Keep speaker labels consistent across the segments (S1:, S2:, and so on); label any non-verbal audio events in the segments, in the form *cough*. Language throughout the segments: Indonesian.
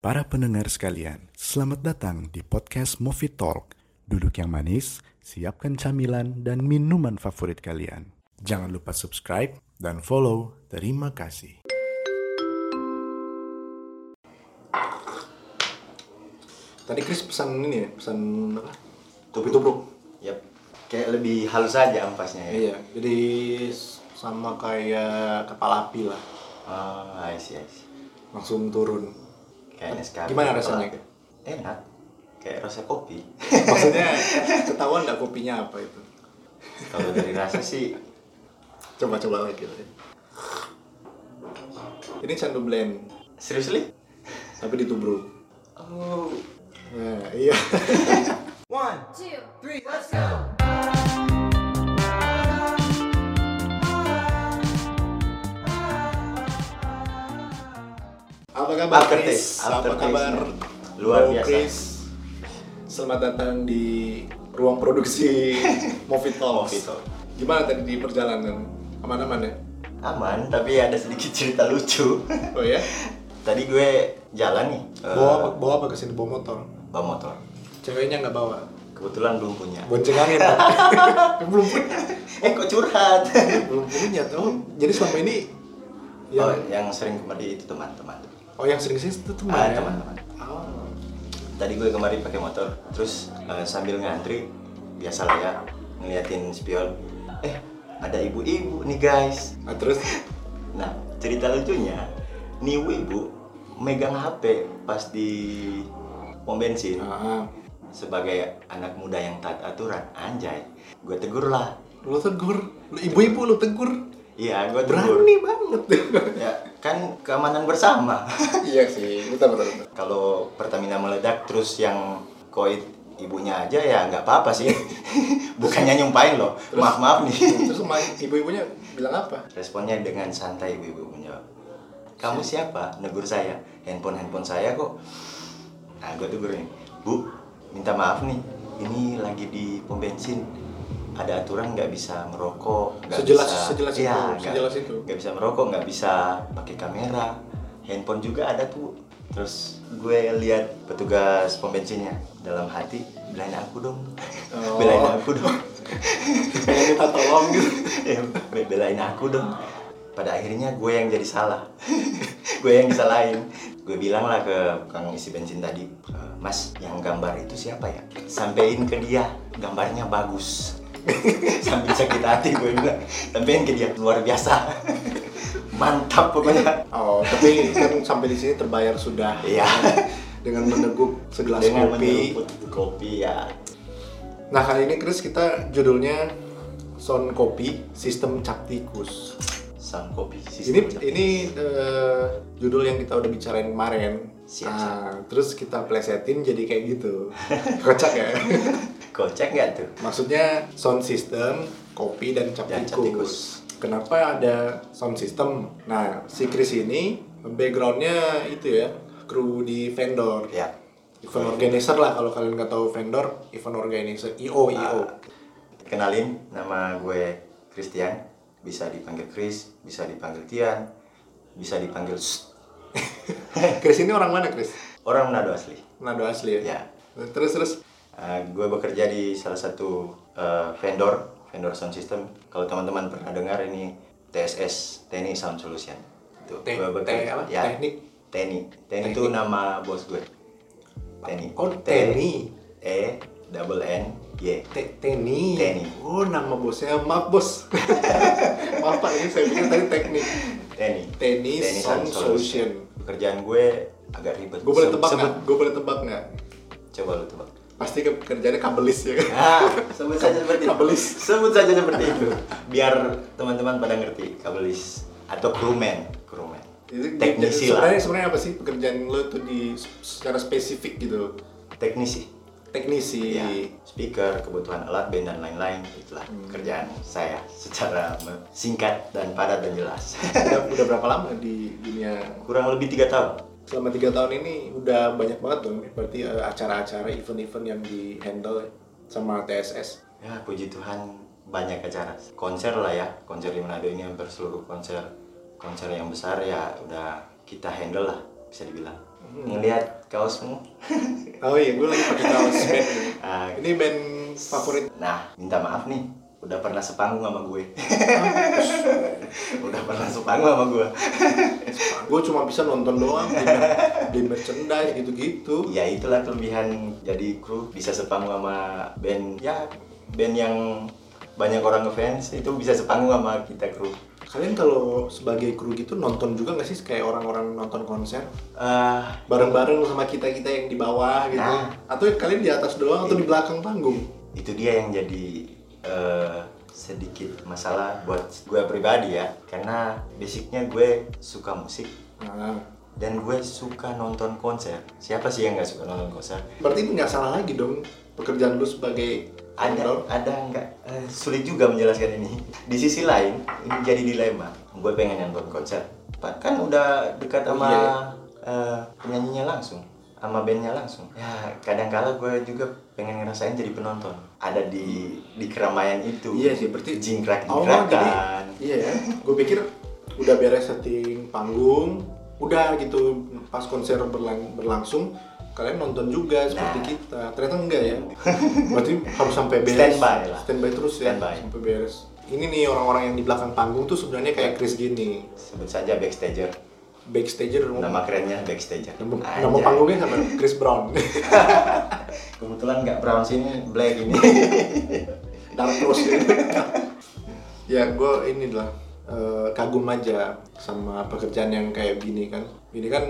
S1: Para pendengar sekalian, selamat datang di podcast Movie Talk. Duduk yang manis, siapkan camilan dan minuman favorit kalian. Jangan lupa subscribe dan follow. Terima kasih. Tadi Chris pesan ini ya, pesan apa? Kopi tubruk.
S2: Yap. Kayak lebih halus aja ampasnya ya.
S1: Iya, jadi sama kayak kepala api lah,
S2: Ah, I see, I see.
S1: langsung
S2: *laughs*
S1: turun.
S2: Kayaknya sekali.
S1: Gimana rasanya?
S2: Enak. Kayak rasa kopi. *laughs*
S1: Maksudnya ketahuan nggak kopinya apa itu?
S2: Kalau dari rasa sih
S1: Coba-coba lagi. lah ya. Ini candu blend,
S2: seriously?
S1: tapi ditubruk.
S2: Oh.
S1: Nah, iya.
S2: *laughs* One.
S3: two,
S1: Apa kabar
S2: After
S1: Chris?
S2: taste, after
S1: Apa kabar?
S2: taste-nya. Luar
S1: Bro
S2: biasa.
S1: Chris. Selamat datang di ruang
S2: *laughs*
S1: produksi Movie Talks.
S2: Movie Talk.
S1: Gimana tadi di perjalanan? Aman-aman ya?
S2: Aman, tapi ada sedikit cerita lucu. *laughs*
S1: Oh ya?
S2: Tadi gue jalan nih. eh,
S1: Bawa apa, bawa apa kesini? Bawa motor?
S2: bawa motor.
S1: Ceweknya nggak bawa?
S2: Kebetulan belum punya.
S1: Bonceng *laughs* angin. Pak. belum punya.
S2: Eh, kok curhat?
S1: Belum punya. Oh, jadi selama ini *laughs* yang,
S2: Oh, yang sering kemari itu teman-teman.
S1: oh, yang sering sih itu teman
S2: Ah,
S1: ya?
S2: teman-teman.
S1: Oh.
S2: tadi gue kemarin pakai motor terus eh, sambil ngantri biasalah ya ngeliatin spion eh ada ibu-ibu nih guys
S1: Nah, terus
S2: nah cerita lucunya nih ibu megang HP pas di pom bensin
S1: ah,
S2: sebagai anak muda yang taat aturan anjay gue tegur lah
S1: lu tegur, Lu ibu-ibu lu tegur.
S2: iya gue tegur
S1: Berani banget.
S2: ya kan keamanan bersama
S1: *laughs*
S2: *laughs*
S1: iya sih, betul betul. betul.
S2: kalau Pertamina meledak terus yang koit ibunya aja ya nggak apa-apa sih *laughs* bukannya nyumpain loh maaf maaf nih
S1: Terus sama ibu-ibunya bilang apa?
S2: responnya dengan santai ibu-ibu menjawab kamu siapa negur saya handphone handphone saya kok nah gue tuh nih bu minta maaf nih ini lagi di pom bensin ada aturan nggak bisa merokok nggak
S1: Sejelas-
S2: bisa
S1: sejelas
S2: Iya,
S1: itu,
S2: nggak-
S1: sejelas itu.
S2: nggak bisa merokok nggak bisa pakai kamera handphone juga ada tuh terus gue lihat petugas pom bensinnya dalam hati belain aku dong
S1: Oh.
S2: *laughs* belain aku dong
S1: Pengen minta tolong gitu.
S2: *coughs* Ya, be- belain aku dong pada akhirnya gue yang jadi salah *laughs* gue yang disalahin gue bilang lah ke kang isi bensin tadi "E, mas yang gambar itu siapa ya sampein ke dia gambarnya bagus *laughs* sambil sakit hati gue bilang sampein ke dia luar biasa *laughs* mantap pokoknya
S1: Oh, tapi kan sampai di sini terbayar sudah.
S2: Iya.
S1: Dengan meneguk segelas
S2: dengan
S1: kopi.
S2: menyeruput kopi ya
S1: Nah, kali ini Chris kita judulnya Sound Kopi Sistem Cap Tikus.
S2: sang kopi
S1: Ini
S2: sistem cap.
S1: ini eh, judul yang kita udah bicarain kemarin.
S2: Siap,
S1: Nah, terus kita plesetin jadi kayak gitu. Kocak
S2: *laughs*
S1: ya.
S2: kocak nggak tuh
S1: Maksudnya sound system, kopi dan cap tikus.
S2: Dan cap tikus.
S1: Kenapa ada sound system? Nah, si Chris ini backgroundnya itu ya, kru di vendor.
S2: ya
S1: Event organizer lah kalau kalian nggak tahu vendor, event organizer IO IO.
S2: Ah. Kenalin, nama gue Christian. Bisa dipanggil Chris, bisa dipanggil Tian, bisa dipanggil Sus.
S1: Eh, Chris ini orang mana Chris?
S2: Orang Manado asli.
S1: Nado asli ya.
S2: Ya.
S1: Terus terus
S2: Eh, gue bekerja di salah satu eh, vendor, vendor sound system. Kalau teman-teman pernah dengar ini TSS, TNI Sound Solution. Itu
S1: Te-
S2: gue
S1: te- apa?
S2: ya,
S1: Teknik?
S2: TNI. TNI itu
S1: Teknik.
S2: nama bos gue. TNI.
S1: Oh,
S2: T-
S1: TNI.
S2: E double N Y.
S1: Te- Teni.
S2: Teni.
S1: Oh, nama bosnya maaf bos. *laughs* maaf Pak, ini saya pikir tadi teknik.
S2: TNI.
S1: TNI Sound Solution.
S2: Pekerjaan gue agak ribet.
S1: Gue boleh
S2: Se-
S1: tebak
S2: sebut-
S1: nggak? Gue boleh tebak nggak?
S2: Coba lu tebak.
S1: Pasti ke- kerjanya kabelis *laughs* ya kan?
S2: Ah, sebut saja seperti itu.
S1: Kabelis.
S2: Sebut saja seperti itu. Biar teman-teman pada ngerti kabelis atau krumen, krumen.
S1: Itu
S2: Teknisi lah.
S1: Sebenarnya sebenarnya apa sih pekerjaan lo tuh di secara spesifik gitu?
S2: Teknisi.
S1: Teknisi.
S2: Iya. Hmm. Speaker, kebutuhan alat band dan lain-lain itulah kerjaan saya secara me- singkat dan padat dan jelas.
S1: *laughs*
S2: *laughs*
S1: Udah, udah berapa lama di dunia?
S2: Kurang lebih tiga tahun.
S1: Selama tiga tahun ini udah banyak banget dong. Berarti eh, acara-acara, event-event yang di handle sama TSS.
S2: Ya, puji Tuhan banyak acara. Konser lah ya, konser di Manado ini hampir seluruh konser. Konser yang besar ya udah kita handle lah. bisa dibilang Hmm. ngelihat kaosmu
S1: Oh iya, gue lagi *laughs* pakai kaos band.
S2: ah,
S1: Ini band favorit.
S2: nah minta maaf nih udah pernah sepanggung sama gue udah pernah sepanggung sama gue
S1: Gue cuma bisa nonton doang di, di merchandise gitu-gitu.
S2: ya itulah kelebihan jadi kru bisa sepanggung sama band ya band yang banyak orang ngefans itu bisa sepanggung sama kita kru
S1: Kalian kalau sebagai kru gitu nonton juga nggak sih kayak orang-orang nonton konser
S2: Ah,
S1: bareng-bareng sama kita kita yang di bawah gitu?
S2: Nah. Iya.
S1: Atau kalian di atas doang atau di belakang panggung?
S2: itu dia yang jadi eh, sedikit masalah buat gue pribadi ya karena basicnya gue suka musik
S1: Nah,
S2: dan gue suka nonton konser siapa sih yang nggak suka nonton konser
S1: berarti nggak salah lagi dong pekerjaan lu sebagai aktor.
S2: ada ada nggak Eh, sulit juga menjelaskan ini di sisi lain ini jadi dilema gue pengen nonton konser Pa- kan udah dekat
S1: Oh,
S2: sama
S1: iya.
S2: eh, penyanyinya langsung sama bandnya langsung ya kadang kala gue juga pengen ngerasain jadi penonton ada di di keramaian itu
S1: Iya sih, berarti
S2: jingkrak
S1: Oh, jadi
S2: jingkrakan
S1: iya ya. Gue pikir udah beres setting panggung, udah gitu pas konser berlang- berlangsung kalian nonton juga seperti
S2: Nah.
S1: kita. Ternyata enggak ya. Berarti harus sampai beres.
S2: Standby lah.
S1: Standby terus ya
S2: Standby.
S1: sampai beres. Ini nih orang-orang yang di belakang panggung tuh sebenarnya kayak Chris gini.
S2: sebut saja backstager
S1: Backstager
S2: nama kerennya backstager
S1: nama,
S2: Anjay.
S1: nama panggungnya sama Chris Brown.
S2: kebetulan nggak brown sini black ini
S1: Dark Rose
S2: gitu.
S1: ya gue ini lah eh, kagum aja sama pekerjaan yang kayak gini kan ini kan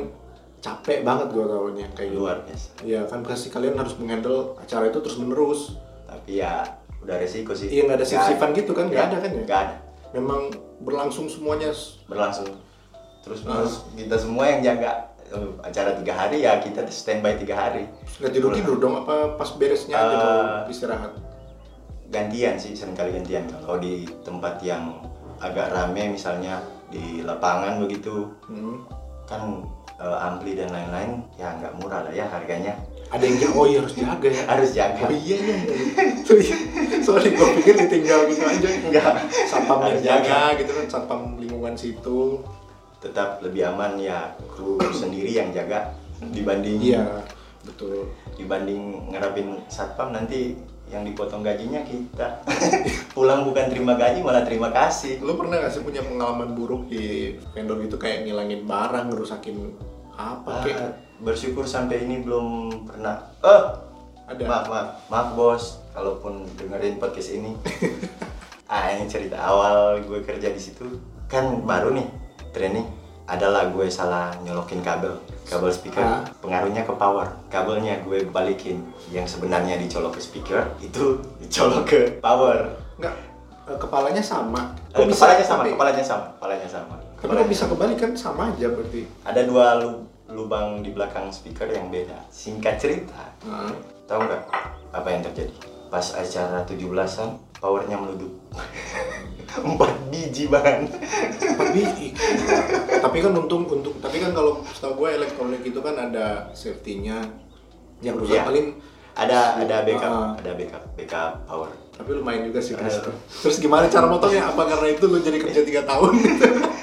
S1: capek banget gue tahunya kayak gini.
S2: luar biasa
S1: Iya kan pasti kalian harus menghandle acara itu terus menerus
S2: tapi ya udah resiko sih
S1: iya nggak ada sif-sifan gitu kan nggak
S2: Iya,
S1: ada kan ya
S2: nggak ada
S1: memang berlangsung semuanya s-
S2: berlangsung terus terus
S1: Ah.
S2: kita semua yang jaga eh, acara tiga hari ya kita standby tiga hari
S1: nggak tidur tidur dong apa pas beresnya aja
S2: Eh.
S1: baru istirahat
S2: gantian sih seringkali gantian kalau di tempat yang agak rame misalnya di lapangan begitu
S1: Hmm.
S2: kan eh, ampli dan lain-lain ya nggak murah lah ya harganya
S1: ada yang jaga oh iya harus jaga ya
S2: harus jaga
S1: oh iya iya iya. sorry gue pikir ditinggal gitu aja
S2: Nggak.
S1: satpam yang
S2: Harus jaga.
S1: jaga gitu kan satpam lingkungan situ
S2: tetap lebih aman ya kru sendiri yang jaga dibanding
S1: Iya, betul.
S2: dibanding ngerapin satpam nanti yang dipotong gajinya kita *laughs* pulang bukan terima gaji malah terima kasih
S1: Lu pernah gak sih punya pengalaman buruk di vendor gitu kayak ngilangin barang, ngerusakin apa
S2: Oke,
S1: kayak
S2: Ah, bersyukur sampai ini belum pernah. Eh,
S1: ada
S2: maaf maaf maaf bos, kalaupun dengerin podcast
S1: *laughs*
S2: ini. ah ini cerita awal gue kerja di situ kan baru nih training. Adalah gue salah nyolokin kabel, kabel speaker.
S1: Ah.
S2: Pengaruhnya ke power. Kabelnya gue balikin yang sebenarnya dicolok ke speaker itu dicolok ke power.
S1: nggak eh, kepalanya sama.
S2: Eh,
S1: Kok bisa
S2: kepalanya sama,
S1: tapi-
S2: kepalanya sama, kepalanya sama.
S1: Tapi kok bisa kebalik kan sama aja berarti.
S2: Ada dua lu- lubang di belakang speaker yang beda. Singkat cerita,
S1: Nah,
S2: Tahu nggak apa yang terjadi? Pas acara 17-an, powernya meludup. *laughs* Empat biji bang.
S1: tapi *laughs* tapi kan untung untung tapi kan kalau setahu gue elektronik itu kan ada safety-nya yang rusak
S2: Iya.
S1: paling
S2: Ada ada backup,
S1: Ah.
S2: ada backup, backup power.
S1: tapi lumayan juga sih Chris.
S2: Ada.
S1: Terus gimana cara motongnya? Apa karena itu lu jadi kerja 3 tahun?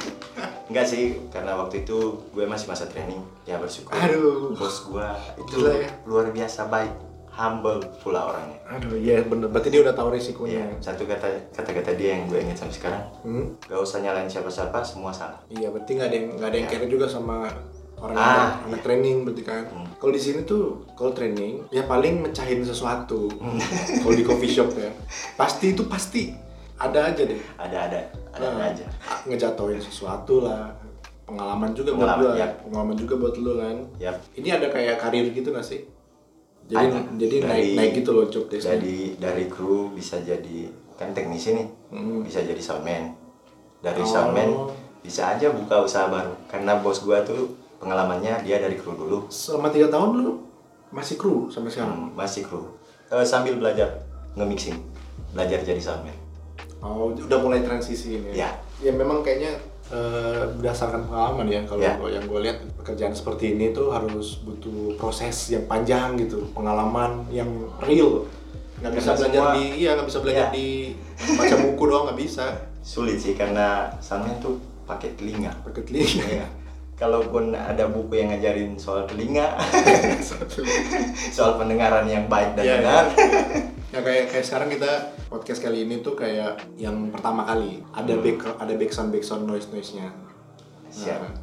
S2: *laughs* Enggak sih, karena waktu itu gue masih masa training. Ya bersyukur.
S1: Aduh.
S2: Bos gue itu
S1: Gila ya.
S2: luar biasa baik, humble pula orangnya.
S1: Aduh, iya bener. Berarti dia udah tahu
S2: Iya,
S1: risikonya.
S2: satu kata kata-kata dia yang gue ingat sampai sekarang.
S1: Hmm?
S2: Gak usah nyalain siapa-siapa, semua salah.
S1: Iya, berarti nggak ada yang nggak ada yang care juga sama orang
S2: Iya. Ah,
S1: yang
S2: iya.
S1: anak training berarti kan.
S2: Hmm.
S1: Kalau di sini tuh kalau training ya paling mecahin sesuatu.
S2: Hmm.
S1: *laughs* kalau di coffee shop ya. Pasti itu pasti ada aja deh.
S2: Ada ada ada, ada
S1: Nah,
S2: aja.
S1: Ngejatuhin sesuatu lah. Pengalaman juga
S2: Pengalaman,
S1: buat lu.
S2: iya.
S1: Pengalaman juga buat lu kan.
S2: Yap.
S1: Ini ada kayak karir gitu nggak sih? Jadi
S2: Ada.
S1: jadi
S2: Dari-
S1: naik naik gitu loh job desk.
S2: jadi dari kru bisa jadi kan teknisi nih
S1: Hmm.
S2: bisa jadi soundman dari
S1: Oh.
S2: soundman bisa aja buka usaha baru karena bos gua tuh pengalamannya dia dari kru dulu
S1: Selama tiga tahun lu masih kru sampai sekarang.
S2: Hmm, masih kru Eh, sambil belajar nge-mixing belajar jadi soundman
S1: Oh, udah mulai transisi ini.
S2: Iya.
S1: Ya, memang kayaknya eh, berdasarkan pengalaman ya kalau
S2: Iya.
S1: gua- yang gue lihat pekerjaan seperti ini tuh harus butuh proses yang panjang gitu, pengalaman yang real. Nggak bisa
S2: Karena
S1: belajar
S2: semua-
S1: di iya nggak bisa belajar
S2: Iya.
S1: di baca buku doang nggak bisa.
S2: sulit sih karena soundman tuh pakai telinga
S1: *laughs* Pakai telinga.
S2: Iya. kalaupun ada buku yang ngajarin soal telinga *laughs* soal pendengaran yang baik dan
S1: Iya, iya.
S2: benar
S1: ya kayak kayak sekarang kita podcast kali ini tuh kayak yang pertama kali ada back ada background background noise noise nya
S2: siap
S1: Nah.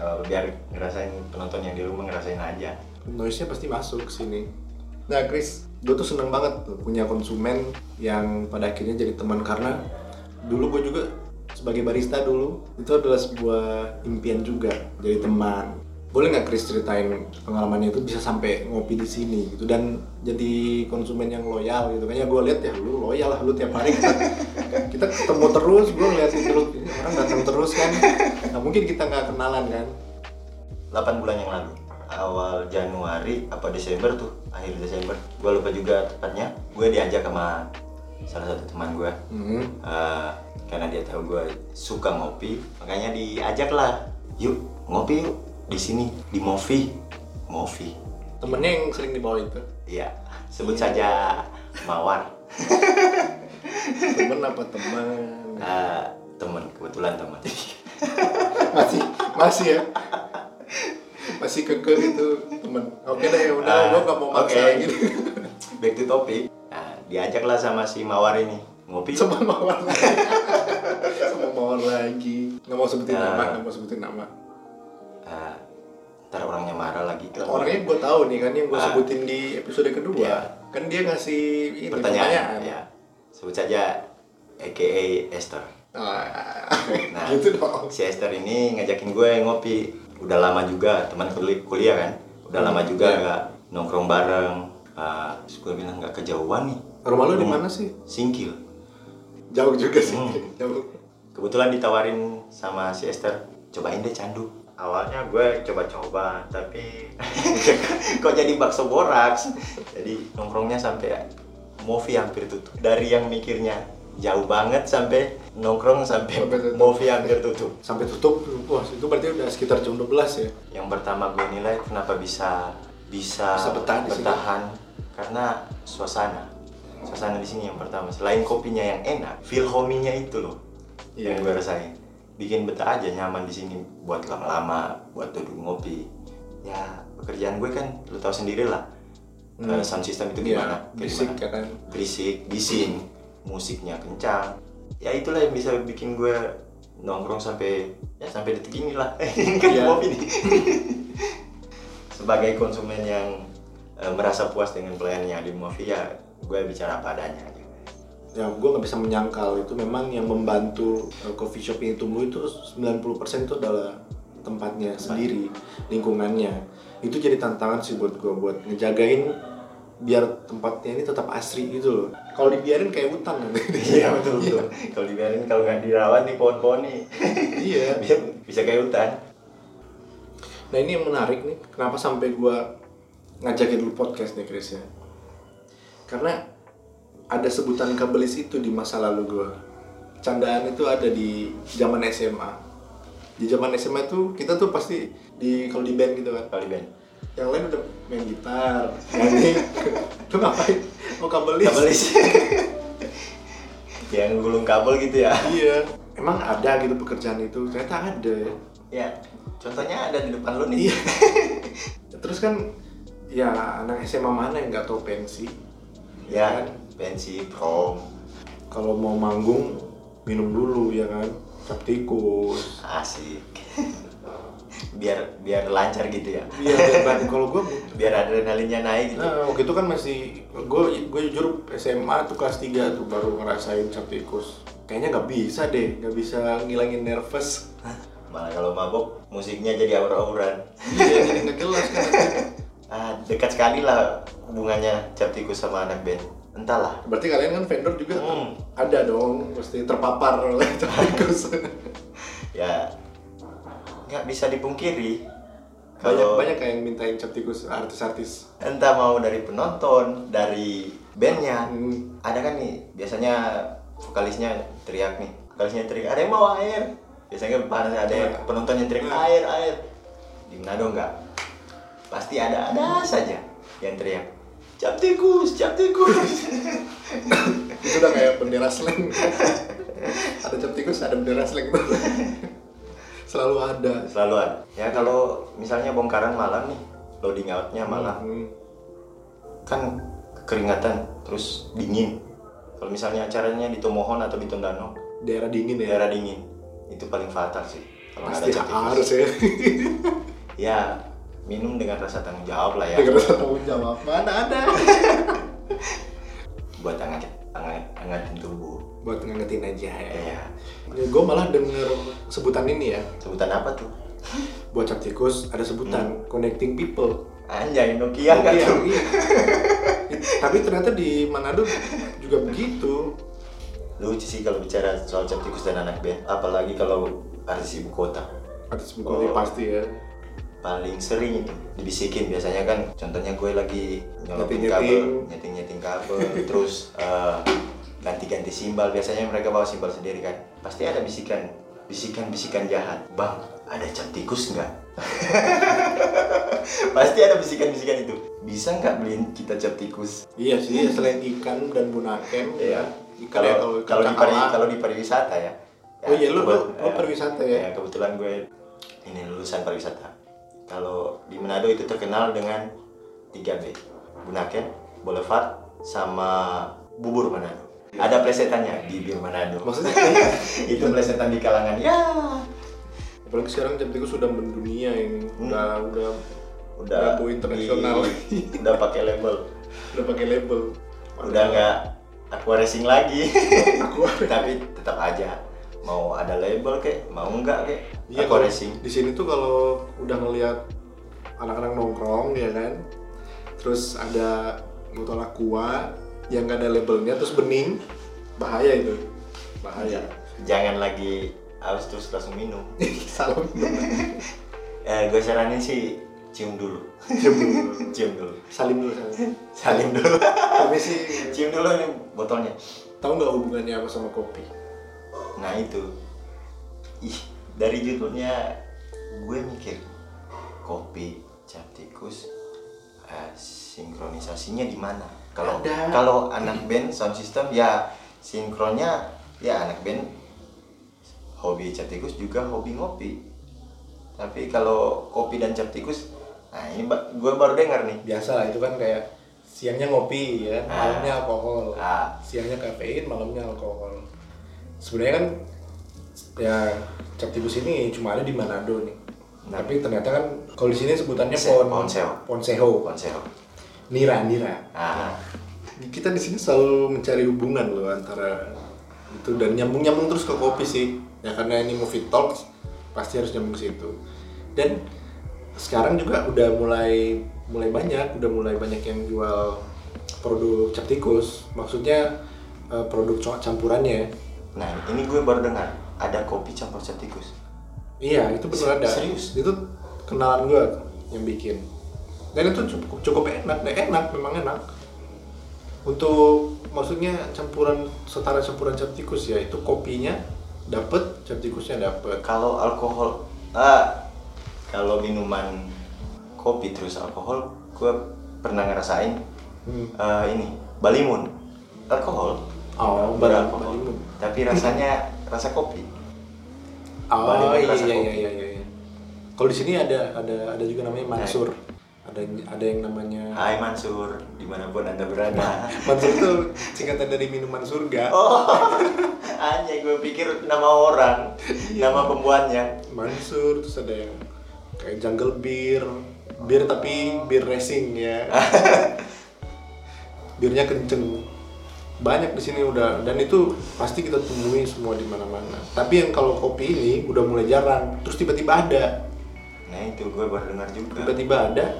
S2: Kalau Eh, biar ngerasain penonton yang di rumah ngerasain aja
S1: noise nya pasti masuk ke sini nah Chris gue tuh seneng banget tuh punya konsumen yang pada akhirnya jadi teman karena dulu gue juga sebagai barista dulu itu adalah sebuah impian juga jadi teman boleh nggak Chris ceritain pengalamannya itu bisa sampai ngopi di sini gitu dan jadi konsumen yang loyal gitu kayaknya gue lihat ya lu loyal lah lu tiap hari kita, *laughs* kita ketemu terus gue ngeliatin terus ini orang datang terus kan nah mungkin kita nggak kenalan kan
S2: 8 bulan yang lalu awal Januari apa Desember tuh akhir Desember gue lupa juga tepatnya gue diajak sama salah satu teman gue
S1: hmm.
S2: Eh, karena dia tahu gue suka ngopi makanya diajak lah yuk ngopi yuk di sini di Mofi Mofi
S1: temennya yang sering dibawa itu
S2: iya sebut saja Mawar
S1: temen apa teman
S2: Eh, teman kebetulan teman *laughs*
S1: masih masih ya masih keke gitu temen oke deh ya udah
S2: Ah,
S1: gue gak mau maksa
S2: oke.
S1: gitu
S2: *laughs* back to topic nah, diajak lah sama si Mawar ini ngopi
S1: *laughs*
S2: yuk.
S1: sama mawar lagi sama mawar lagi nggak mau sebutin
S2: Ah.
S1: nama nggak mau sebutin nama
S2: Eh, ntar orangnya marah lagi
S1: orangnya gue tahu nih kan yang gue
S2: Ah.
S1: sebutin di episode kedua
S2: Iya.
S1: kan dia ngasih ini
S2: pertanyaan ya sebut saja AKA Esther
S1: Ah,
S2: Nah.
S1: *laughs* gitu dong
S2: si Esther ini ngajakin gue ngopi udah lama juga teman kuli- kuliah kan udah lama juga
S1: Iya.
S2: nggak nongkrong bareng Ah, terus gue bilang nggak kejauhan nih
S1: rumah lu di mana sih
S2: singkil
S1: jauh juga sih
S2: Hmm.
S1: jauh
S2: kebetulan ditawarin sama si Esther cobain deh candu awalnya gue coba-coba tapi *laughs* kok jadi bakso boraks jadi nongkrongnya sampai movie hampir tutup dari yang mikirnya jauh banget sampai nongkrong sampai
S1: Sampai tutup.
S2: movie hampir tutup
S1: sampai tutup wah itu berarti udah sekitar jam 12 ya
S2: yang pertama gue nilai kenapa bisa bisa,
S1: Bisa bertahan di sini.
S2: bertahan. karena suasana suasana di sini yang pertama selain kopinya yang enak feel hominya itu loh
S1: Iya.
S2: yang gue rasain bikin betah aja nyaman di sini buat lama-lama buat duduk ngopi ya pekerjaan gue kan lo tau sendiri lah
S1: Hmm.
S2: eh, sound system itu
S1: Iya,
S2: gimana kayak
S1: bisik
S2: gimana.
S1: ya kan
S2: berisik bising musiknya kencang ya itulah yang bisa bikin gue nongkrong sampai ya sampai detik ini lah *laughs* kan
S1: Iya.
S2: kopi nih *laughs* sebagai konsumen yang eh, merasa puas dengan pelayanannya di Mafia gue bicara apa adanya aja.
S1: ya gue nggak bisa menyangkal itu memang yang membantu uh, coffee shop ini tumbuh itu 90% itu adalah tempatnya sendiri lingkungannya itu jadi tantangan sih buat gue buat ngejagain biar tempatnya ini tetap asri gitu loh kalau dibiarin kayak hutan kan. nanti.
S2: iya betul betul *laughs* kalau dibiarin kalau nggak dirawat nih pohon-pohon nih *laughs*
S1: iya
S2: bisa, bisa kayak hutan
S1: nah ini yang menarik nih kenapa sampai gue ngajakin dulu podcast nih Chris ya karena ada sebutan kabelis itu di masa lalu gue candaan itu ada di zaman SMA di zaman SMA tuh kita tuh pasti di kalau di band gitu kan
S2: kalau di band
S1: yang lain udah main gitar nyanyi *laughs* lu ngapain mau kabelis
S2: kabelis *laughs* yang gulung kabel gitu ya
S1: iya emang ada gitu pekerjaan itu ternyata ada ya
S2: ya contohnya ada di depan lo nih
S1: Iya. *laughs* terus kan ya anak SMA mana yang nggak tahu pensi
S2: ya pensi prom
S1: kalau mau manggung minum dulu ya kan cap tikus
S2: asik *laughs* biar biar lancar gitu ya
S1: *laughs* iya dan kalau gue
S2: biar adrenalinnya naik gitu
S1: nah, waktu itu kan masih gue gue jujur SMA tuh kelas 3 tuh baru ngerasain cap tikus kayaknya nggak bisa deh nggak bisa ngilangin nervous
S2: malah kalau mabok musiknya jadi aur-auran
S1: iya jadi nggak jelas kan
S2: ah, dekat sekali lah hubungannya cap tikus sama anak band entahlah
S1: berarti kalian kan vendor juga
S2: Hmm.
S1: ada dong pasti terpapar oleh cap tikus
S2: ya nggak bisa dipungkiri
S1: banyak
S2: kalau
S1: banyak kayak yang mintain cap tikus artis-artis
S2: entah mau dari penonton dari bandnya
S1: Hmm.
S2: ada kan nih biasanya vokalisnya teriak nih vokalisnya teriak ada yang mau air biasanya panas ada yang
S1: Iya.
S2: penonton yang teriak air air di Manado enggak pasti ada ada saja yang teriak cap tikus cap tikus *laughs*
S1: itu udah kayak bendera slang ada cap tikus ada bendera slang selalu ada
S2: Selalu ada. Ya kalau misalnya bongkaran malam nih, loading outnya malam,
S1: Hmm.
S2: kan keringatan, terus dingin. Kalau misalnya acaranya di Tomohon atau di Tondano,
S1: daerah dingin ya
S2: daerah dingin, itu paling fatal sih. Kalau
S1: pasti
S2: nggak ada cat
S1: harus
S2: tikus.
S1: ya
S2: Ya minum dengan rasa tanggung jawab lah ya.
S1: dengan rasa tanggung jawab mana ada
S2: Buat hangat, hangat, hangatin tubuh.
S1: buat ngangetin aja ya,
S2: Ya,
S1: gue malah denger sebutan ini ya
S2: sebutan apa tuh?
S1: buat cap tikus ada sebutan connecting people
S2: Anjay, Nokia nggak
S1: Iya,
S2: tuh?
S1: iya. tapi ternyata di Manado juga begitu
S2: Lucu sih kalau bicara soal cap tikus dan anak band, apalagi kalau artis ibu kota.
S1: ada sebutan
S2: Oh.
S1: pasti ya
S2: paling sering itu dibisikin biasanya kan contohnya gue lagi nyolokin
S1: Nyeting-nyeting.
S2: kabel nyeting nyeting kabel terus eh, ganti-ganti simbal biasanya mereka bawa simbal sendiri kan pasti ada bisikan bisikan bisikan jahat bang ada cap tikus nggak *laughs* pasti ada bisikan bisikan itu bisa nggak beliin kita cap tikus
S1: iya sih selain ikan dan bunaken ya
S2: Iya.
S1: ikan ya
S2: kalau kalau di pari-
S1: cakala.
S2: kalau di pariwisata ya
S1: Oh iya, lu-
S2: kebet-
S1: lu- lu
S2: ya.
S1: pariwisata ya?
S2: Ya, kebetulan gue ini lulusan pariwisata kalau di Manado itu terkenal dengan 3 B Bunaken Boulevard sama bubur Manado ada plesetannya bibir Manado
S1: Iya. Maksudnya?
S2: *laughs* itu plesetan di kalangan ya
S1: apalagi sekarang jam tikus sudah mendunia ini
S2: Hmm.
S1: udah udah
S2: udah
S1: Rambu internasional.
S2: di- udah pakai label
S1: udah pakai label
S2: udah nggak aqua
S1: *laughs*
S2: racing lagi
S1: aku
S2: tapi tetap aja mau ada label kek mau enggak kek
S1: Iya,
S2: aku
S1: kalau
S2: racing
S1: Di sini tuh kalau udah ngelihat anak-anak nongkrong ya kan, terus ada botol aqua yang gak ada labelnya terus bening, bahaya itu. Bahaya.
S2: jangan lagi harus terus langsung minum
S1: *laughs*
S2: *laughs*
S1: Salam.
S2: eh, gue saranin sih cium dulu *laughs*
S1: Cium dulu.
S2: cium dulu
S1: Salim dulu. salim.
S2: salim dulu
S1: Tapi sih
S2: *laughs* cium dulu nih botolnya
S1: tahu nggak hubungannya apa sama kopi?
S2: nah itu ih dari judulnya gue mikir kopi cap tikus eh, sinkronisasinya di mana kalau
S1: Ada.
S2: kalau anak band sound system ya sinkronnya ya anak band hobi cap tikus juga hobi ngopi tapi kalau kopi dan cap tikus nah ini ba- gue baru dengar nih
S1: Biasa lah itu kan kayak siangnya ngopi ya, malamnya alkohol.
S2: Ah.
S1: Siangnya kafein, malamnya alkohol. Sebenarnya kan ya cap tikus ini cuma ada di Manado nih.
S2: Nah.
S1: Tapi ternyata kan kalau di sini sebutannya
S2: Se-
S1: pon
S2: ponseho.
S1: ponseho.
S2: konsel
S1: Nira, nira.
S2: ah
S1: Kita di sini selalu mencari hubungan loh antara itu dan nyambung-nyambung terus ke kopi sih. Ya karena ini movie talks pasti harus nyambung ke situ. Dan sekarang juga udah mulai mulai banyak, udah mulai banyak yang jual produk cap tikus. Maksudnya eh, produk co- campurannya.
S2: nah ini gue baru dengar ada kopi campur cap tikus
S1: Iya, itu bener ada.
S2: Serius?
S1: Itu kenalan gue yang bikin. Dan itu cukup, cukup enak, deh enak, memang enak. Untuk maksudnya campuran setara campuran cap tikus ya, itu kopinya dapet, cap tikusnya dapet.
S2: kalau alkohol ah kalau minuman kopi terus alkohol gue pernah ngerasain
S1: Hmm.
S2: eh, ini balimun alkohol
S1: Oh,
S2: beralkohol
S1: balimun.
S2: tapi rasanya rasa kopi
S1: Oh
S2: Balimun
S1: iya,
S2: rasa
S1: iya,
S2: kopi.
S1: iya iya iya. Kalau di sini ada ada ada juga namanya mansur. Ada ada yang namanya
S2: Hai Mansur dimanapun anda berada
S1: *laughs* mansur itu singkatan dari minuman surga.
S2: oh anjay gue pikir nama orang
S1: Iya.
S2: nama pembuatnya
S1: Mansur terus ada yang kayak jungle beer beer tapi beer racing ya birnya kenceng banyak di sini udah dan itu pasti kita temui semua di mana-mana tapi yang kalau kopi ini udah mulai jarang terus tiba-tiba ada
S2: nah itu gue baru dengar juga
S1: tiba-tiba ada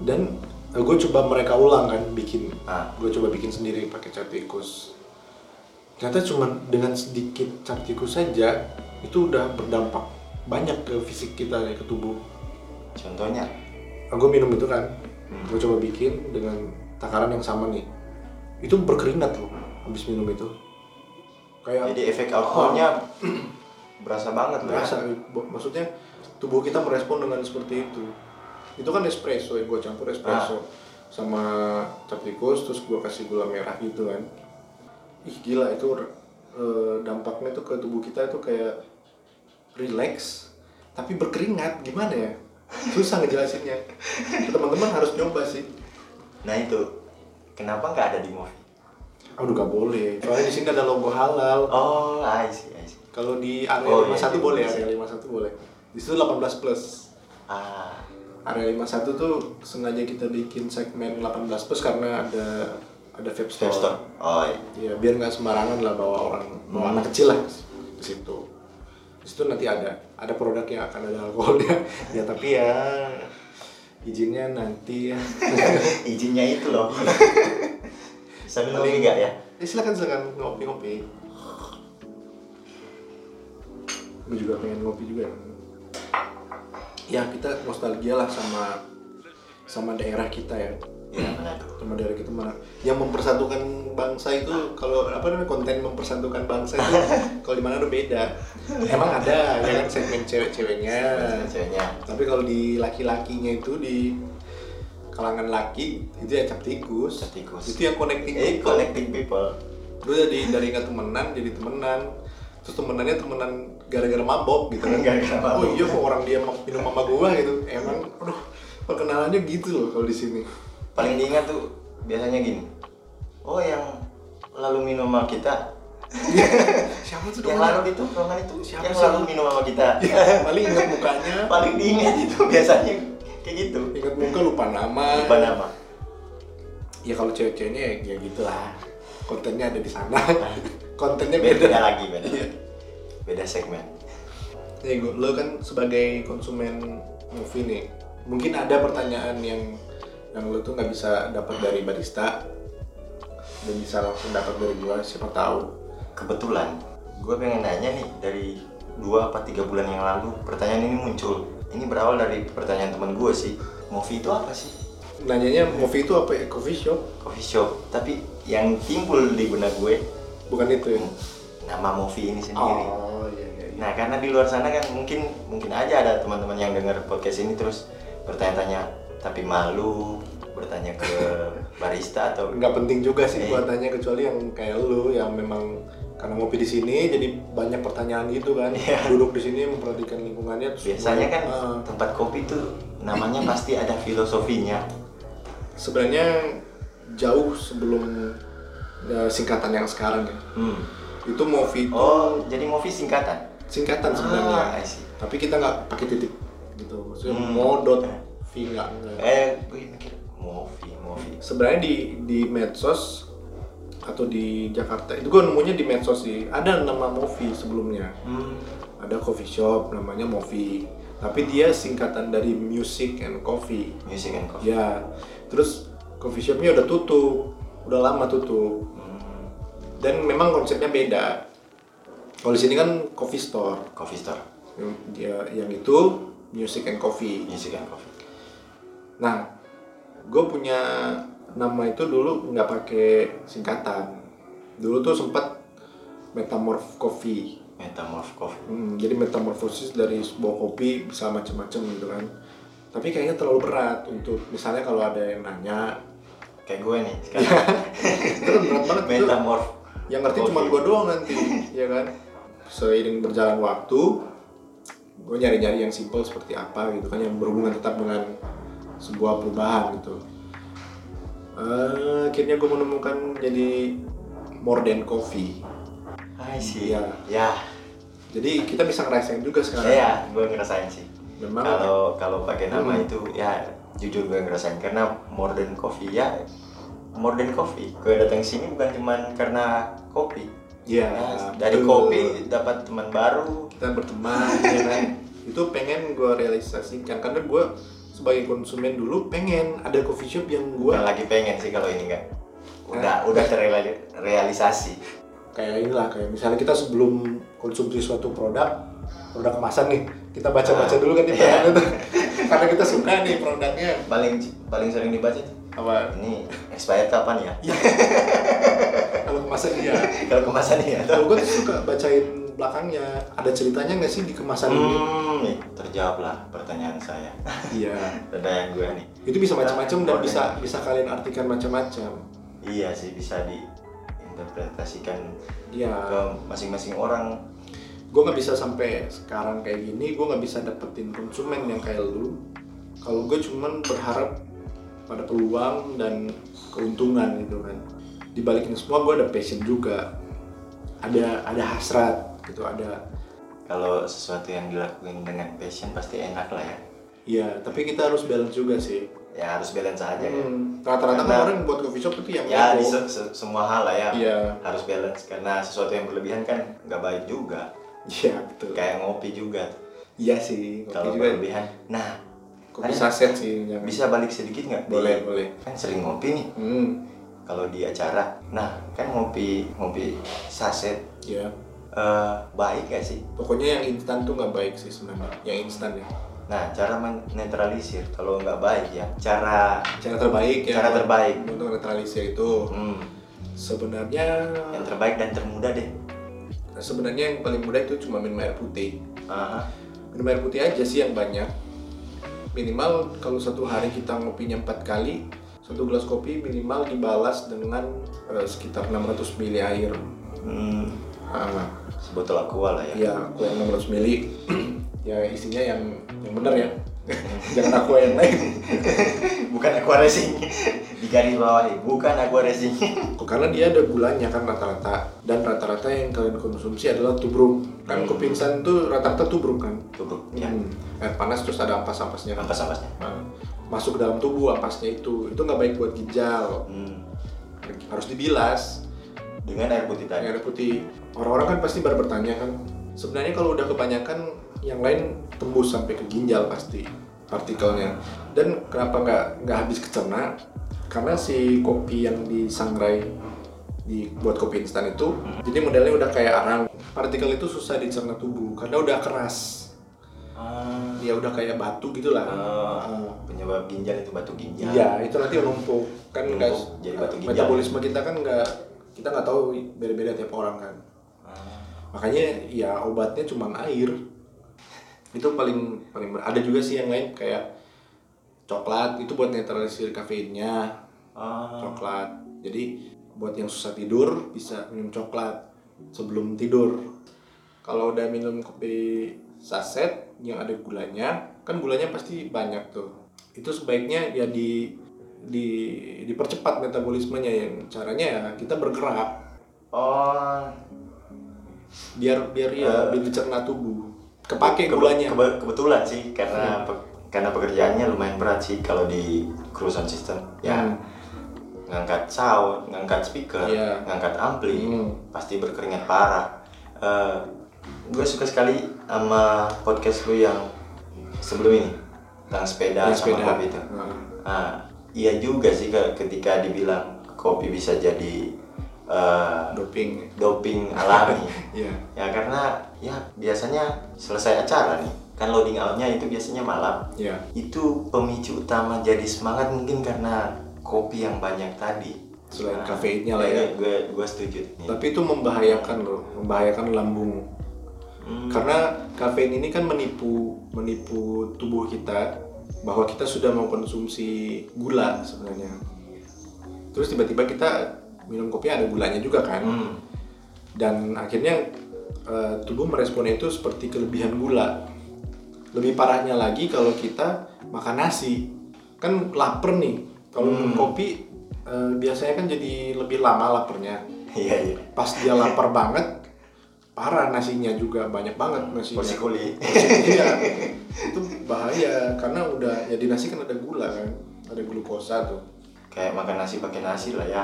S1: dan gue coba mereka ulang kan bikin
S2: Ah.
S1: gue coba bikin sendiri pakai cat tikus ternyata cuma dengan sedikit cat tikus saja itu udah berdampak banyak ke fisik kita ya, ke tubuh
S2: contohnya
S1: gue minum itu kan
S2: Hmm.
S1: gue coba bikin dengan takaran yang sama nih itu berkeringat loh habis minum itu kayak
S2: jadi efek alkoholnya *clears throat* berasa banget loh ya.
S1: berasa bo- maksudnya tubuh kita merespon dengan seperti itu itu kan espresso yang gue campur espresso
S2: Ah.
S1: sama cap tikus terus gue kasih gula merah gitu kan ih gila itu eh, dampaknya tuh ke tubuh kita itu kayak relax tapi berkeringat gimana ya susah
S2: *laughs*
S1: ngejelasinnya teman-teman harus nyoba sih
S2: Nah itu, kenapa nggak ada di movie?
S1: aduh gak boleh soalnya di sini ada logo halal
S2: Oh, I see, I see.
S1: kalau di area
S2: Oh,
S1: 51
S2: iya,
S1: boleh
S2: iya.
S1: area 51 boleh di situ 18 plus
S2: Ah,
S1: area 51 tuh sengaja kita bikin segmen 18 plus karena ada ada vape store.
S2: Vape store. Oh,
S1: Ya
S2: iya.
S1: biar nggak sembarangan lah bawa orang bawa anak kecil lah ke situ. Di situ nanti ada ada produknya akan ada
S2: *laughs*
S1: alkoholnya. ya tapi ya izinnya nanti ya.
S2: Eh, izinnya itu *laughs* loh. Sambil ngopi nggak ya?
S1: Eh, silakan silakan ngopi-ngopi. Gue juga pengen ngopi juga. Ya kita nostalgia lah sama sama daerah kita ya.
S2: Iya, Manado.
S1: sama daerah kita mana yang mempersatukan bangsa itu kalau apa namanya konten mempersatukan bangsa
S2: *laughs*
S1: itu kalau di mana udah beda emang ada ya kan segmen cewek-ceweknya
S2: Ceweknya.
S1: tapi kalau di laki-lakinya itu di kalangan laki itu ya cap tikus
S2: Cap tikus.
S1: itu yang connecting
S2: Eh,
S1: people.
S2: collecting people.
S1: Lu jadi ya dari nggak temenan jadi temenan terus temenannya temenan gara-gara mabok gitu kan
S2: *laughs* Gara-gara mabok.
S1: oh iya kok orang dia minum sama gua gitu emang aduh perkenalannya gitu loh kalau di
S2: *laughs*
S1: sini
S2: Paling diingat tuh biasanya gini. Oh, yang lalu minum sama kita.
S1: siapa tuh
S2: Yang
S1: namanya?
S2: lalu itu, roman itu.
S1: Siapa
S2: yang
S1: sih?
S2: lalu minum sama kita. *laughs*
S1: Ya, *laughs* paling ingat mukanya
S2: Paling diingat itu biasanya kayak gitu.
S1: ingat muka lupa nama
S2: Apa nama?
S1: ya kalau cewek-ceweknya ya, ya gitulah kontennya ada di
S2: *laughs*
S1: sana kontennya
S2: Beda,
S1: beda
S2: lagi, beda.
S1: Iya.
S2: Beda segmen.
S1: Nih, gua- lo kan sebagai konsumen movie nih mungkin ada pertanyaan yang yang lo tuh nggak bisa dapat dari barista dan bisa langsung dapat dari gua siapa tahu
S2: kebetulan gue pengen nanya nih dari dua apa tiga bulan yang lalu pertanyaan ini muncul ini berawal dari pertanyaan teman gue sih movie itu apa sih
S1: nanyanya movie itu apa ya coffee shop
S2: coffee shop tapi yang timbul di benak gue
S1: bukan itu ya
S2: nama movie ini sendiri
S1: oh iya iya iya.
S2: nah karena di luar sana kan mungkin mungkin aja ada teman-teman yang dengar podcast ini terus bertanya-tanya tapi malu bertanya
S1: *laughs*
S2: ke barista atau
S1: nggak penting juga sih
S2: Eh.
S1: buat tanya kecuali yang kayak lu yang memang karena ngopi di sini jadi banyak pertanyaan gitu kan duduk di sini memperhatikan lingkungannya terus
S2: Iya. biasanya kan
S1: Eh,
S2: tempat kopi tuh namanya pasti ada filosofinya
S1: sebenarnya jauh sebelum eh, singkatan yang sekarang ya
S2: hmm.
S1: itu movie itu
S2: oh jadi movie singkatan
S1: singkatan sebenarnya
S2: Ah, I see.
S1: tapi kita nggak pakai titik gitu maksudnya
S2: Hmm.
S1: mau dot v nggak nggak.
S2: Eh, gue mikir movie, movie.
S1: sebenarnya di di medsos atau di Jakarta itu gue nemunya di medsos sih ada nama movie sebelumnya
S2: Hmm.
S1: ada coffee shop namanya Movi tapi dia singkatan dari music and coffee
S2: Music and coffee.
S1: ya terus coffee shopnya udah tutup udah lama tutup
S2: Hmm.
S1: dan memang konsepnya beda kalau di sini kan coffee store
S2: Coffee store.
S1: yang, ya- yang itu music and coffee
S2: Music and coffee.
S1: nah gue punya nama itu dulu nggak pakai singkatan dulu tuh sempat metamorph coffee
S2: Metamorph coffee.
S1: Hmm, jadi metamorfosis dari sebuah kopi bisa macam-macam gitu kan. Tapi kayaknya terlalu berat untuk misalnya kalau ada yang nanya,
S2: Kayak gue nih sekarang.
S1: itu kan berat banget itu.
S2: *laughs* Metamorph.
S1: Yang ngerti cuma
S2: Coffee.
S1: gua doang nanti, ya kan. Seiring berjalan waktu, gue nyari-nyari yang simple seperti apa gitu kan yang berhubungan tetap dengan sebuah perubahan gitu. Eh, akhirnya gue menemukan jadi more than coffee.
S2: I see.
S1: Iya.
S2: Ya,
S1: Jadi kita bisa ngerasain juga
S2: ya,
S1: sekarang.
S2: gue ngerasain sih.
S1: Memang
S2: Kalau kalau pakai nama
S1: Hmm.
S2: itu ya jujur gue ngerasain karena modern coffee ya modern coffee. Gue datang sini bukan cuman karena kopi.
S1: Iya,
S2: Ya, dari
S1: betul.
S2: kopi dapat teman baru.
S1: kita berteman *laughs* ya kan itu pengen gue realisasikan karena gue sebagai konsumen dulu pengen ada coffee shop yang gue
S2: Gue lagi pengen sih kalau ini enggak. Udah udah terrealisasi.
S1: kayak inilah kayak misalnya kita sebelum konsumsi suatu produk produk kemasan nih kita baca baca dulu kan di bahannya tuh *laughs* karena kita suka nih produknya
S2: paling paling sering dibaca tuh,
S1: apa
S2: ini expired kapan ya
S1: kalau kemasan iya
S2: kalau kemasan ya
S1: kalau gue tuh suka bacain belakangnya ada ceritanya nggak sih di kemasan ini
S2: hmm nih, terjawablah pertanyaan saya
S1: iya
S2: pertanyaan gue nih
S1: itu bisa macam-macam dan
S2: Oke.
S1: bisa bisa kalian artikan macam-macam
S2: iya sih bisa diinterpretasikan
S1: iya
S2: ke masing-masing orang
S1: gue nggak bisa sampai sekarang kayak gini gue nggak bisa dapetin konsumen yang kayak lu kalau gue cuman berharap pada peluang dan keuntungan gitu kan dibalikin semua gue ada passion juga ada ada hasrat gitu ada
S2: Kalau sesuatu yang dilakuin dengan passion pasti enak lah ya.
S1: ya tapi kita harus balance juga sih
S2: Ya harus balance aja ya.
S1: Hmm, rata-rata kan
S2: Karena-
S1: orang buat coffee shop itu yang
S2: Ya
S1: ego.
S2: di se- se- semua hal lah ya.
S1: Iya.
S2: Harus balance karena sesuatu yang berlebihan kan nggak baik juga.
S1: iya betul
S2: Kayak ngopi juga.
S1: iya sih kopi
S2: Kalau
S1: juga
S2: berlebihan. Nah,
S1: kopi
S2: Ada-
S1: saset sih jangan.
S2: bisa balik sedikit nggak?
S1: boleh boleh
S2: Kan sering ngopi nih
S1: hmm
S2: kalau di acara. Nah, kan ngopi ngopi saset
S1: ya
S2: eh, baik gak sih?
S1: pokoknya yang instan tuh nggak baik sih sebenarnya yang instan ya
S2: Nah, cara menetralisir kalau nggak baik ya. Cara
S1: cara terbaik ya
S2: Cara terbaik.
S1: untuk netralisir itu
S2: hmm,
S1: sebenarnya
S2: yang terbaik dan termudah deh.
S1: sebenarnya yang paling mudah itu cuma minum air putih
S2: Ah,
S1: minum air putih aja sih yang banyak minimal kalau satu hari kita ngopinya empat kali satu gelas kopi minimal dibalas dengan eh, sekitar 600 ml air
S2: hmm,
S1: Ah,
S2: sebotol aqua lah ya.
S1: ya aku yang 600 ml *clears throat* ya isinya yang yang benar ya *laughs* jangan aku yang lain
S2: *laughs* Bukan aqua racing. *laughs* di garis bawah bukan aqua racing. *laughs*
S1: Oh, karena dia ada gulanya kan rata-rata dan rata-rata yang kalian konsumsi adalah tubruk kan
S2: Hmm.
S1: kopi instan itu rata-rata tubruk kan
S2: Tubuh ya.
S1: Hmm. air panas terus ada ampas-ampasnya kan
S2: Ampas-ampasnya.
S1: Nah, masuk ke dalam tubuh ampasnya itu itu nggak baik buat ginjal
S2: Hmm,
S1: harus dibilas
S2: dengan air putih tadi.
S1: air putih orang-orang kan pasti baru bertanya kan sebenarnya kalau udah kebanyakan yang lain tembus sampai ke ginjal pasti partikelnya dan kenapa nggak nggak habis kecerna karena si kopi yang disangrai dibuat kopi instan itu jadi modelnya udah kayak arang partikel itu susah dicerna tubuh karena udah keras
S2: Ah,
S1: dia udah kayak batu gitulah
S2: ah, penyebab ginjal itu batu ginjal.
S1: Iya, itu nanti numpuk kan
S2: Numpuk,
S1: guys.
S2: jadi batu ginjal.
S1: Metabolisme kita kan nggak kita nggak tahu beda-beda tiap orang kan.
S2: Ah,
S1: Makanya ya obatnya cuma air. Itu paling paling ber- ada juga sih yang lain kayak coklat itu buat netralisir kafeinnya.
S2: ah.
S1: Coklat. Jadi buat yang susah tidur bisa minum coklat sebelum tidur. Kalau udah minum kopi saset yang ada gulanya, kan gulanya pasti banyak tuh. Itu sebaiknya ya di di dipercepat metabolismenya yang caranya ya kita bergerak
S2: Oh,
S1: biar biar ya
S2: Eh.
S1: biar dicerna tubuh. Kepake
S2: Kebe-
S1: gulanya. Hmm.
S2: kebe- kebetulan sih karena pe- karena pekerjaannya lumayan berat sih kalau di crew sound system ya
S1: Hmm.
S2: ngangkat sound ngangkat speaker
S1: Iya.
S2: ngangkat ampli
S1: Hmm.
S2: pasti berkeringat parah gue suka sekali sama podcast lu yang sebelum ini tentang sepeda
S1: Yang
S2: Ya, sama
S1: Ya, sepeda.
S2: kopi itu
S1: Nah.
S2: Ah, iya juga sih ke- ketika dibilang kopi bisa jadi eh,
S1: Doping.
S2: doping
S1: *laughs*
S2: alami
S1: Iya.
S2: Ya karena ya biasanya selesai acara nih kan loading outnya itu biasanya malam.
S1: Iya.
S2: Itu pemicu utama jadi semangat mungkin karena kopi yang banyak tadi.
S1: Selain
S2: Nah,
S1: kafeinnya lah ya.
S2: Gue gue setuju. nih.
S1: Tapi itu membahayakan loh, membahayakan lambung.
S2: Hmm,
S1: Karena kafein ini kan menipu menipu tubuh kita bahwa kita sudah mengkonsumsi gula sebenarnya. Terus tiba-tiba kita minum kopi ada gulanya juga kan.
S2: hmm,
S1: Dan akhirnya eh, tubuh merespon itu seperti kelebihan gula. Lebih parahnya lagi kalau kita makan nasi. Kan lapar nih. Kalau minum
S2: Hmm.
S1: kopi eh, biasanya kan jadi lebih lama laparnya
S2: Iya iya.
S1: pas dia lapar banget parah nasinya juga banyak banget nasinya
S2: Porsi kuli.
S1: *laughs* iya itu bahaya karena udah ya di nasi kan ada gula kan ada glukosa
S2: *laughs*
S1: tuh
S2: Kayak makan nasi pakai nasi lah ya.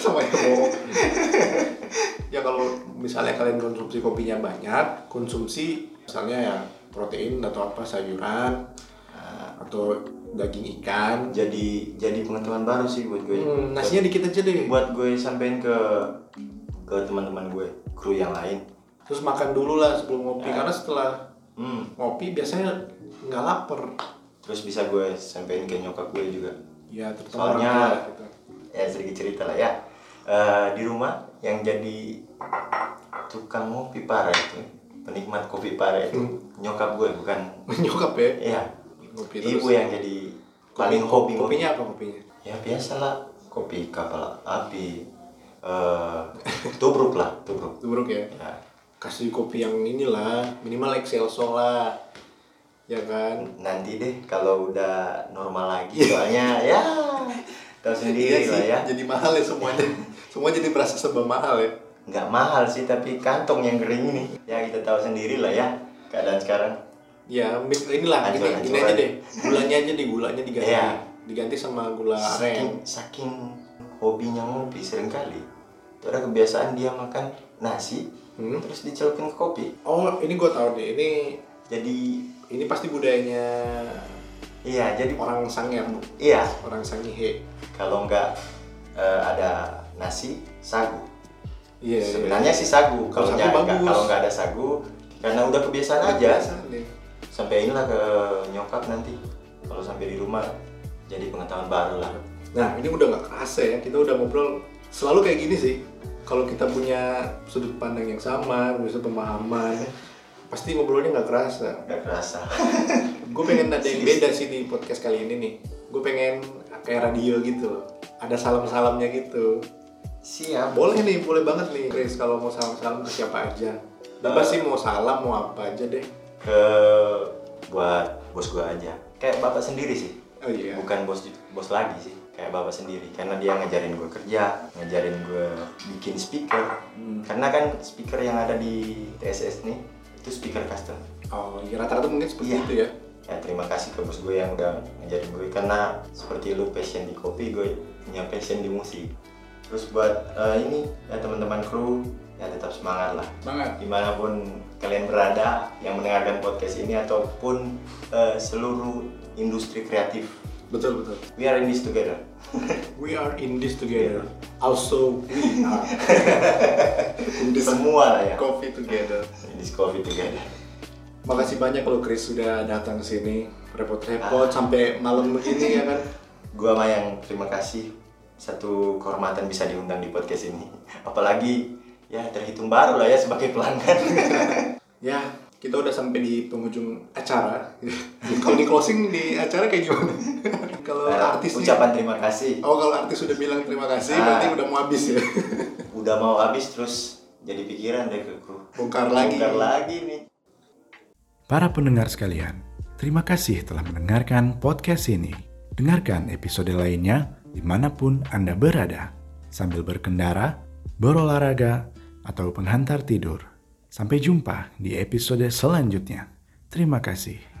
S1: sama yang bohong ya kalau misalnya kalian konsumsi kopinya banyak konsumsi misalnya ya protein atau apa sayuran
S2: Nah,
S1: atau daging ikan
S2: jadi jadi pengetahuan baru sih buat gue.
S1: Hmm, nasinya dikit aja deh
S2: Buat gue sampein ke ke teman-teman gue, kru yang lain.
S1: terus makan dulu lah sebelum ngopi
S2: Ah.
S1: karena setelah
S2: Hmm,
S1: ngopi biasanya nggak lapar
S2: terus bisa gue sampein ke nyokap gue juga.
S1: Ya terutama
S2: Soalnya-
S1: orang tua gitu. *laughs*
S2: ya sedikit cerita lah ya Eh, di rumah yang jadi tukang kopi parah itu penikmat kopi parah itu
S1: Hmm.
S2: nyokap gue bukan
S1: Menyokap ya.
S2: ya
S1: Ngopi terus.
S2: ibu yang jadi paling hobi ngopi
S1: Kopinya apa kopinya?
S2: ya biasalah kopi kapal api eh tubruk lah tubruk
S1: Tubruk ya.
S2: ya
S1: kasih kopi yang inilah minimal excelso lah ya kan
S2: nanti deh kalau udah normal lagi
S1: *laughs*
S2: soalnya ya tahu
S1: Iya
S2: sendiri lah
S1: sih,
S2: ya
S1: jadi mahal ya
S2: *laughs*
S1: semuanya semua jadi berasa serba mahal ya
S2: nggak mahal sih tapi kantong yang kering ini ya kita tahu sendiri lah ya keadaan sekarang
S1: ya mi- inilah gini,
S2: Acuan-acuan.
S1: gini aja deh gulanya aja di gulanya diganti
S2: Iya.
S1: diganti sama gula aren
S2: saking saking hobinya ngopi seringkali itu ada kebiasaan dia makan nasi
S1: Hmm.
S2: terus dicelupin ke kopi
S1: oh ini gue tahu nih ini
S2: jadi
S1: ini pasti budayanya
S2: iya jadi
S1: orang sangir
S2: iya
S1: orang sangihe
S2: kalau nggak eh, ada nasi sagu
S1: iya iya.
S2: sebenarnya sih sagu
S1: Kalau
S2: kalau
S1: sagu
S2: nggak
S1: bagus. Iya,
S2: kalau nggak ada sagu karena udah kebiasaan aja
S1: Kebiasaan deh.
S2: sampai inilah ke nyokap nanti kalau sampai di rumah jadi pengetahuan baru lah
S1: Nah, ini udah nggak kerasa ya. Kita udah ngobrol selalu kayak gini sih. Kalau kita punya sudut pandang yang sama, punya pemahaman, pasti ngobrolnya nggak kerasa.
S2: nggak
S1: *laughs*
S2: kerasa
S1: Gue pengen ada yang beda sih di podcast kali ini nih. Gue pengen kayak radio gitu loh. Ada salam-salamnya gitu.
S2: siap
S1: Boleh nih, boleh banget nih, Chris. Kalau mau salam-salam ke siapa aja. Bebas sih mau salam, mau apa aja deh.
S2: ke buat bos gua aja kayak bapak sendiri sih
S1: Oh iya.
S2: bukan bos bos lagi sih kayak bapak sendiri karena dia ngajarin gue kerja ngajarin gue bikin speaker karena kan speaker yang ada di TSS nih itu speaker custom
S1: Oh iya, rata-rata mungkin seperti
S2: Iya.
S1: itu ya.
S2: ya terima kasih ke bos gue yang udah ngajarin gue karena seperti lu passion di kopi gue punya passion di musik terus buat eh, ini ya teman-teman kru ya tetap semangat lah
S1: Banget.
S2: dimanapun kalian berada yang mendengarkan podcast ini ataupun eh, seluruh industri kreatif
S1: Betul, betul.
S2: we are in this together
S1: We are in this together. Also, we
S2: *laughs*
S1: are in this
S2: semua lah ya
S1: coffee together.
S2: in this covid together
S1: Makasih banyak loh Chris sudah datang ke sini
S2: Ah.
S1: repot-repot sampai malam begini ya kan.
S2: gua mah yang terima kasih satu kehormatan bisa diundang di podcast ini apalagi ya terhitung baru lah ya sebagai pelanggan
S1: Ya, kita udah sampai di penghujung
S2: *laughs*
S1: acara. kalau di closing di acara kayak gimana? kalau
S2: Nah,
S1: artis nih-
S2: ucapan terima kasih
S1: Oh, kalau artis sudah bilang terima kasih,
S2: Ah.
S1: berarti udah mau habis ya.
S2: udah mau habis terus jadi pikiran deh ke kru
S1: Bongkar lagi.
S2: bongkar lagi nih
S4: Para pendengar sekalian, terima kasih telah mendengarkan podcast ini. Dengarkan episode lainnya dimanapun Anda berada, sambil berkendara, berolahraga, atau penghantar tidur. Sampai jumpa di episode selanjutnya. Terima kasih.